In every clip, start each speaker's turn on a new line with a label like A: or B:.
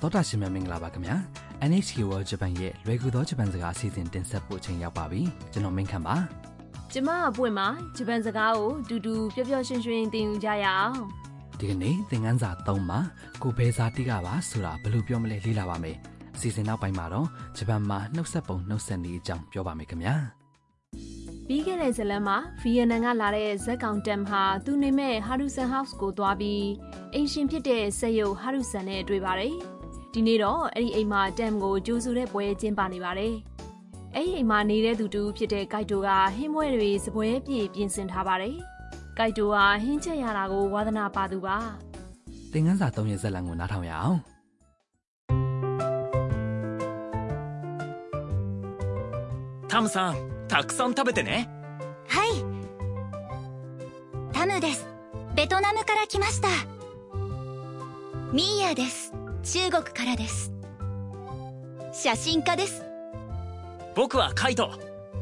A: တော်တာရှင်များမင်္ဂလာပါခင်ဗျာ NHK World Japan ရဲ့လွယ်ကူသောဂျပန်စကားအစီအစဉ်တင်ဆက်ဖို့အချိန်ရောက်ပါပြီကျွန်တော်မင်းခမ်းပါ
B: ကျမအပွင့်မှာဂျပန်စကားကိုတူတူပျော်ပျော်ရွှင်ရွှင်သင်ယူကြရအောင်
A: ဒီကနေ့သင်ခန်းစာ3မှာကိုဘဲစာတိကပါဆိုတာဘယ်လိုပြောမလဲလေ့လာပါမယ်အစီအစဉ်နောက်ပိုင်းမှာတော့ဂျပန်မှာနှုတ်ဆက်ပုံနှုတ်ဆက်နည်းအကြောင်းပြောပါမယ်ခင်ဗျာ
B: ပြီးခဲ့တဲ့ဇတ်လန်မှာဗီယက်နမ်ကလာတဲ့ဇက်ကောင်တမ်ဟာသူနေမဲ့ဟာရူဆန်ဟောက်စ်ကိုသွားပြီးအင်ရှင်ဖြစ်တဲ့ဆက်ရုပ်ဟာရူဆန်နဲ့တွေ့ပါတယ်ဒီနေ့တော့အဲ့ဒီအိမ်မှာတမ်ကိုကြိုးစုတဲ့ပွဲကျင်းပနေပါတယ်အဲ့ဒီအိမ်မှာနေတဲ့သူတူဖြစ်တဲ့ဂိုက်တိုကဟင်းပွဲတွေစပွဲပြေပြင်ဆင်ထားပါတယ်ဂိုက်တိုဟာဟင်းချက်ရတာကိုဝါသနာပါသူပါ
A: သင်ခန်းစာ3ရဲ့ဇာတ်လမ်းကိုနားထောင်ရအောင်
C: タムさんたくさん食べてね
D: はいタムですベトナムから来ましたミーヤです中国からです写真家です
C: 僕はカイト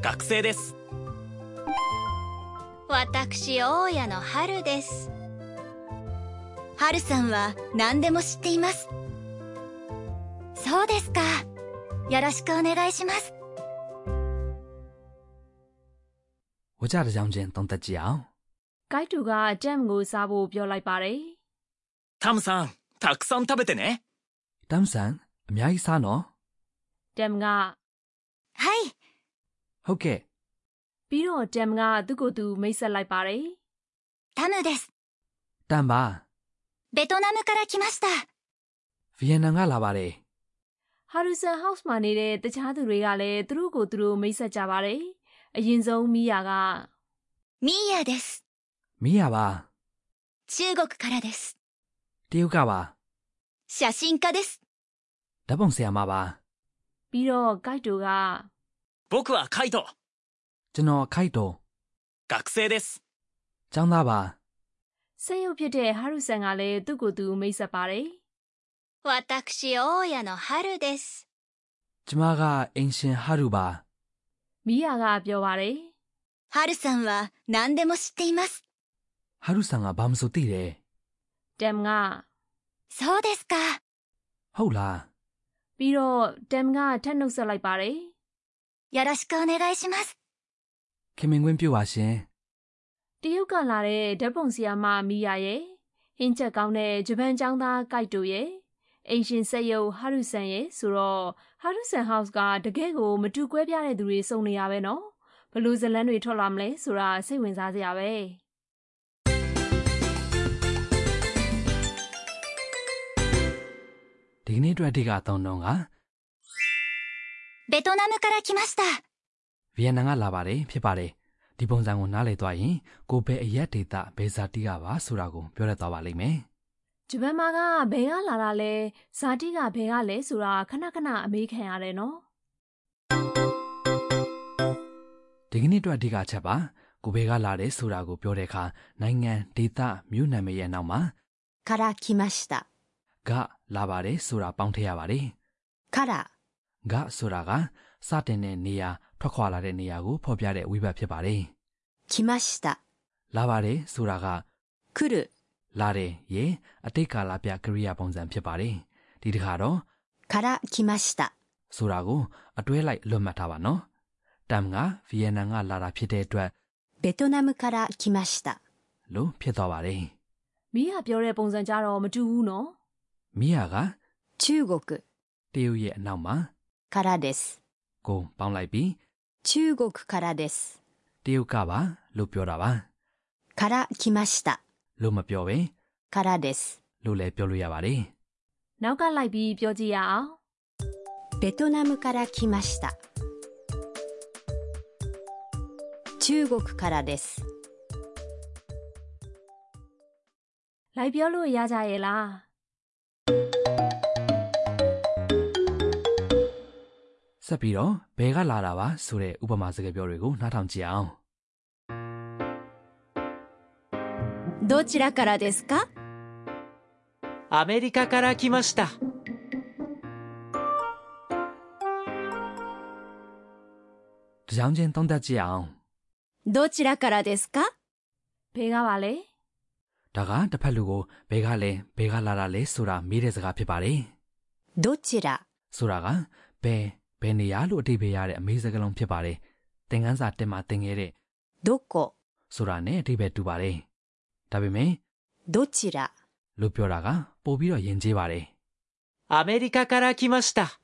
C: 学生です
D: 私大家の春です春さんは何でも知っていますそうですかよろしくお願いします
A: ဝါကြတစ်ကြောင်ချင်းသုံးသက်ကြည့်အောင်
B: ဂိုက်တိုကတမ်ကိုစားဖို့ပြောလိုက်ပါတယ်
C: タムさんたくさん食べてね
A: တမ်ဆန်အများကြီးစားနော်
B: တမ်က
D: はい
A: ဟုတ်ကဲ့
B: ပြီးတော့တမ်ကသူ့ကိုယ်သူမိတ်ဆက်လိုက်ပါတယ်
D: タムです
A: တမ်ပါ
D: ベトナムから来ました
A: ဗီယက်နမ်ကလာပါတယ်
B: ။ဟာရူဆန်ဟောက်စ်မှာနေတဲ့တခြားသူတွေကလည်းသူတို့ကိုယ်သူတို့မိတ်ဆက်ကြပါတယ်။အရင်ဆုံးမိယာက
D: ミーヤです
A: မီးရပါ
D: 中国からです
A: တရုတ်ကပါ
D: 写真家です
A: ဓာတ်ပုံဆရာမပါ
B: ပြီးတော့ဂိုက်တိုက
C: 僕はカイト
A: ကျွန်တော်ခိုက်တော်
C: 学生です
A: ចောင်းသားပါ
B: ဆေးရုပ်ဖြစ်တဲ့ဟာရူဆန်ကလည်းသူ့ကိုယ်သူမိတ်ဆက်ပါတယ်
D: 私大家の春です
A: ကျမကအင်ရှင်ဟာရူပါ
B: ။မိယာကပြောပါတယ်
D: 春さんは何でも知っています
A: ဟာရူဆန်ကဘာမဆိုသိတယ်
B: ။တမ်က
D: そうですか
A: ဟုတ်လား
B: ပြီးတော့တမ်ကထပ်နှုတ်ဆက်လိုက်ပါတယ်
D: よろしくお願いします
A: ခင်မင်ကွင်းပြုတ်ပါရှင်
B: ။တရုတ်ကလာတဲ့ဓာတ်ပုံဆရာမမိယာရဲ့ဟင်းချက်ကောင်းတဲ့ဂျပန်ကျောင်းသားဂိုက်တိုရဲ့အင်ရှင်ဆက်ရုပ်ဟာရူဆန်ရဲ့ဆိုတော့ဟာရူဆန်ဟောက်စ်ကတကယ်ကိုမတူကွဲပြားတဲ့သူတွေစုံနေရပဲနော်ဘယ်လို့ဇတ်လန်းတွေထွက်လာမလဲဆိုတာစိတ်ဝင်စားစရာပဲ
A: ဒီကနေ့အတွက်အဓိကအသုံးနှုန်းက
D: ベトナムから来ました
A: ဗီယက်နမ်ကလာပါတယ်ဖြစ်ပါတယ်ဒီပုံစံကိုနားလည်သွားရင်ကိုဘယ်အရက်ဒေတာဘယ်ဇာတိကပါဆိုတာကိုပြောရသွားပါလိမ့်မယ်
B: ဂျပန်မှာကဘယ်ကလာတာလဲဇာတိကဘယ်ကလဲဆိုတာခဏခဏအမေးခံရတယ်နော်
A: ဒီကနေ့အတွက်အဓိကအချက်ပါကိုဘယ်ကလာတယ်ဆိုတာကိုပြောတဲ့အခါနိုင်ငံဒေတာမြို့နာမည်ရဲ့နောက်မှာ
D: から来ました
A: ကလာပါတယ်ဆိုတာပေါင်းထည့်ရပါတယ်
D: から
A: ကဆိုတာကစတင်တဲ့နေရာထွက်ခွာလာတဲ့နေရာကိုဖော်ပြတဲ့ဝိဘတ်ဖြစ်ပါတယ်
D: 来ました
A: လာပါတယ်ဆိုတာက
D: 来る
A: လာတယ်ရေအတိတ်ကာလပြကရိယာပုံစံဖြစ်ပါတယ်ဒီတစ်ခါတော့
D: から来ました
A: ဆိုတာကိုအတွဲလိုက်လွတ်မှတ်ထားပါနော်တမ်ကဗီယက်နမ်ကလာတာဖြစ်တဲ့အတွက်
D: ベトナムから来ました
A: လို့ဖြစ်သွားပါတယ်
B: မိယာပြောတဲ့ပုံစံကြတော့မတူဘူးနော်
A: မိယာက
D: 中国
A: တရုတ်ရဲ့အနောက်မှာ
D: からです
A: ကိုပေါင်းလိုက်ပြီး
D: 中国からです
A: တရုတ်ကပါလို့ပြောတာပါ
D: から来ました
A: လို့မပြောပဲ
D: からです
A: လို့လည်းပြောလို့ရပါတယ်
B: နောက်ကလိုက်ပြီးပြောကြည့်ရအောင်
D: ベトナムから来ました中国からです
B: လိုက်ပြောလို့ရကြရဲ့လား
A: ဆက်ပြီးတော့ဘယ်ကလာတာပါဆိုတဲ့ဥပမာစကားပြောတွေကိုနားထောင်ကြည့်အောင်
D: どちらからですか
C: アメリカから来ました
A: တစ်ချောင်းချင်းသုံးသပ်ကြည့်အောင်
D: どちらからですか
B: ဘယ်ကပါလဲ
A: ဒါကတစ်ဖက်လူကိုဘယ်ကလဲဘယ်ကလာတာလဲဆိုတာမေးတဲ့စကားဖြစ်ပါတယ်
E: どちら、
A: ဆိုတာကဘယ်ဘယ်နေရာလို့အတိပ္ပယ်ရတဲ့အမေးစကားလုံးဖြစ်ပါတယ်သင်ခန်းစာတင်မှာသင်ခဲ့တဲ့
E: どこ、
A: ဆိုတာနဲ့အတိပ္ပယ်တူပါတယ်ဒါပေမဲ့
E: どちら、
A: လို့ပြောတာကပို့ပြီးတော့ယဉ်ကျေးပါတယ်
F: アメリカから来ました。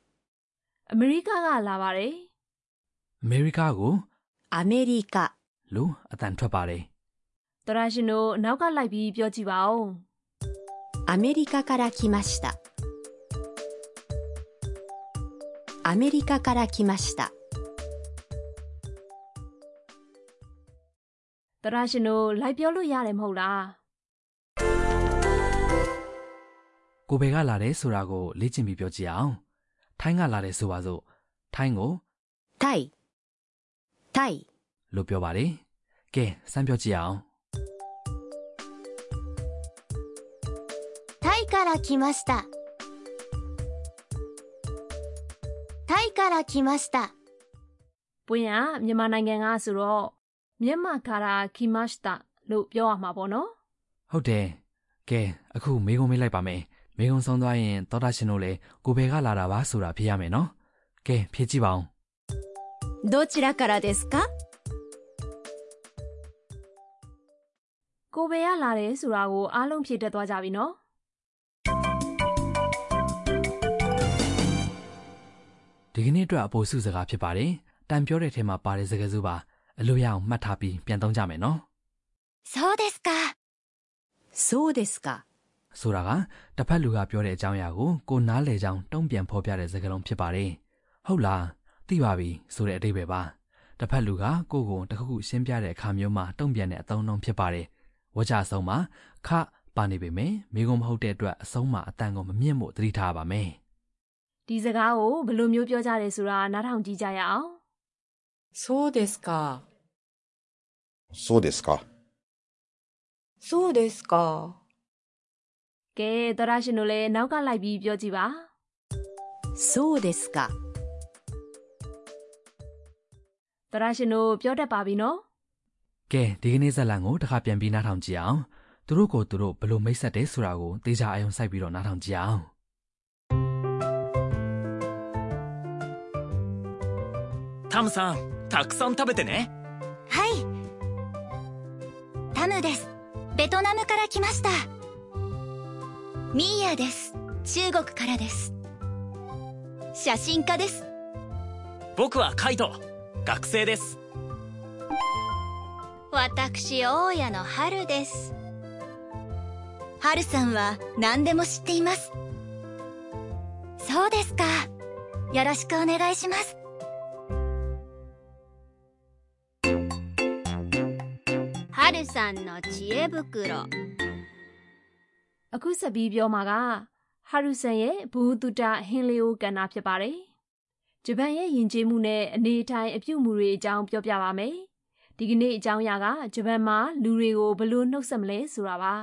B: အမေရိကကလာပါတယ်
A: အမေရိကကို
E: アメリカ、
A: လို့အတန်ထွက်ပါတယ်
B: တရာရှင်တို့နောက်ကလိုက်ပြီးပြောကြည့်ပါဦး
E: アメリカから来ました。アメリカから来ました。
B: တရာရှင်တို့လိုက်ပြောလို့ရတယ်မဟုတ်လား
A: ကိုဘယ်ကလာတယ်ဆိုတာကိုလေ့ကျင့်ပြီးပြောကြည့်အောင်ထိုင်းကလာတယ်ဆိုပါစို့ထိုင်းကို
E: タイ、タイ、
A: လို့ပြောပါတယ်ကဲစမ်းပြောကြည့်အောင်
D: タイから来ました。タイから来ました。
B: ပွင့်ရမြန်မာနိုင်ငံကဆိုတော့မြန်မာကာရာခီမတ်စတာလို့ပြောရမှာပေါ့နော်
A: ဟုတ်တယ်ကဲအခုမေးခွန်းမေးလိုက်ပါမယ်မေးခွန်းဆုံးသွားရင်သောတာရှင်တို့လည်းကိုဘယ်ကလာတာပါဆိုတာဖြေရမယ်နော်ကဲဖြေကြည့်ပါအောင်
E: どちらからですか
B: ကိုဘယ်ကလာတယ်ဆိုတာကိုအားလုံးဖြည့်တတ်သွားကြပြီနော်
A: ဒီကနေ့အတွက်အပေါ်စုစကားဖြစ်ပါတယ်တန်ပြောတဲ့ထဲမှာပါတဲ့စကားစုပါအလိုရအောင်မှတ်ထားပြီးပြန်သုံးကြမယ်နော်
D: そうですか。
E: そうですか。
A: ဆိုတာကတစ်ဖက်လူကပြောတဲ့အကြောင်းအရာကိုကိုနားလေကြောင်းတုံ့ပြန်ဖော်ပြတဲ့စကားလုံးဖြစ်ပါတယ်။ဟုတ်လား။သိပါပြီဆိုတဲ့အဓိပ္ပာယ်ပါ။တစ်ဖက်လူကကိုယ့်ကိုတစ်ခုခုရှင်းပြတဲ့အခါမျိုးမှာတုံ့ပြန်တဲ့အသုံးအနှုန်းဖြစ်ပါတယ်။ဝါကြဆုံးမှာခပါနေပေမယ့်မိကုံမဟုတ်တဲ့အတွက်အဆုံးမှာအတန်ကိုမမြင့်မို့သတိထားပါမယ်
B: ဒီစကားကိုဘယ်လိုမျိုးပြောကြတယ်ဆိုတာနားထောင်ကြည့်ကြရအောင်
G: そうですか。
H: そうですか。
G: そうですか。
B: ကဲတရာရှင်တို့လည်းနောက်ကလိုက်ပြီးပြောကြည့်ပါ
E: そうですか。
B: တရာရှင်တို့ပြောတတ်ပါပြီနော်
A: ။ကဲဒီကနေ့ဇာတ်လမ်းကိုတစ်ခါပြန်ပြီးနားထောင်ကြည့်အောင်။သူတို့ကိုသူတို့ဘယ်လိုမိတ်ဆက်တယ်ဆိုတာကိုသေချာအယုံစိုက်ပြီးတော့နားထောင်ကြည့်အောင်။
C: タムさんたくさん食べてね
D: はい。タムです。ベトナムから来ました。ミーヤです。中国からです。写真家です。
C: 僕はカイト学生です
D: 私、大家の春です。春さんは何でも知っています。そうですか。よろしくお願いします。春さんの知恵袋。
B: အခုဆက်ပြီးပြောမှာကဟာရူဆန်ရဲ့ဘူတုတဟင်းလီယိုကန္နာဖြစ်ပါတယ်။ဂျပန်ရဲ့ယဉ်ကျေးမှုနဲ့အနေအထိုင်အပြုအမူတွေအကြောင်းပြောပြပါမယ်။ဒီကနေ့အကြောင်းအရာကဂျပန်မှာလူတွေကိုဘယ်လိုနှုတ်ဆက်မလဲဆိုတာပါ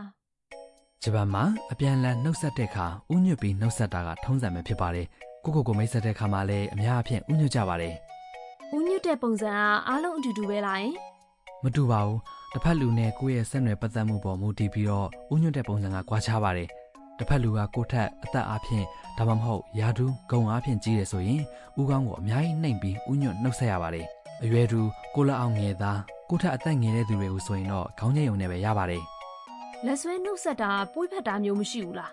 A: ဂျပန်မှာအပြန်အလှန်နှုတ်ဆက်တဲ့အခါဥညွတ်ပြီးနှုတ်ဆက်တာကထုံးစံပဲဖြစ်ပါတယ်။ကိုယ့်ကိုယ်ကိုမိတ်ဆက်တဲ့အခါမှာလည်းအများအပြားဥညွတ်ကြပါတယ်
B: ။ဥညွတ်တဲ့ပုံစံအားအလုံးအတူတူပဲလားယင်
A: ။မတူပါဘူး။တစ်ဖက်လူနဲ့ကိုယ့်ရဲ့ဆက်နွယ်ပတ်သက်မှုပေါ်မူတည်ပြီးတော့ဥညွတ်တဲ့ပုံစံကကွာခြားပါတယ်။တစ်ဖက်လူကကိုယ့်ထက်အသက်အားဖြင့်ဒါမှမဟုတ်ယာတူးဂုံအားဖြင့်ကြီးတယ်ဆိုရင်ဥကောင်းကိုအများကြီးနှိမ်ပြီးဥညွတ်နှုတ်ဆက်ရပါတယ်။အရွယ်တူကိုလက်အောင်ငယ်သားကိုယ့်ထက်အသက်ငယ်တဲ့သူတွေကိုဆိုရင်တော့ခေါင်းညိတ်ုံနဲ့ပဲရပါတယ်။
B: ။လက်ဆွဲနှုတ်ဆက်တာပွိဖက်တာမျိုးမရှိဘူးလား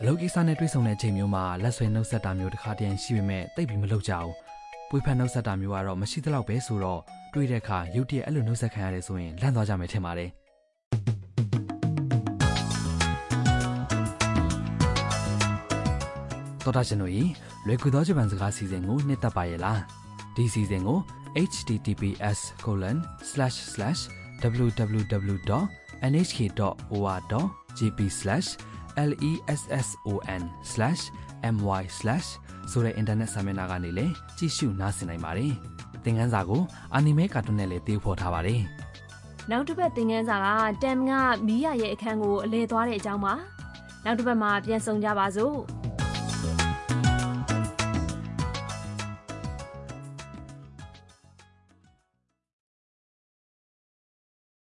A: အလုပ်ကိစ္စနဲ့တွေ့ဆုံတဲ့အချိန်မျိုးမှာလက်ဆွဲနှုတ်ဆက်တာမျိုးတစ်ခါတည်းရှိပေမဲ့တိတ်ပြီးမလုပ်ကြဘူး။ပွေဖက်နှုတ်ဆက်တာမျိုးကတော့မရှိသလောက်ပဲဆိုတော့တွေ့တဲ့အခါရုတ်တရက်အဲ့လိုနှုတ်ဆက်ခံရတယ်ဆိုရင်လန့်သွားကြမယ်ထင်ပါတယ်။တော်တာရှင်တို့ဤလွယ်ကူသောဂျပန်စကားစီစဉ်ကိုနှစ်သက်ပါရဲ့လား။ဒီစီစဉ်ကို https://www.nhk.or.jp/ lesson/my/ ဆိုတဲ့ internet စာမျက်နှာကနေလည်းကြည့်ရှုနားဆင်နိုင်ပါတယ်။သင်ခန်းစာကို anime cartoon နဲ့လည်းသင်ဖော်ထားပါတယ်
B: ။နောက်တစ်ပတ်သင်ခန်းစာကတမ်ကမီးရရဲ့အခန်းကိုအလဲသွားတဲ့အကြောင်းပါ။နောက်တစ်ပတ်မှာပြန်ဆောင်ကြပါစို့။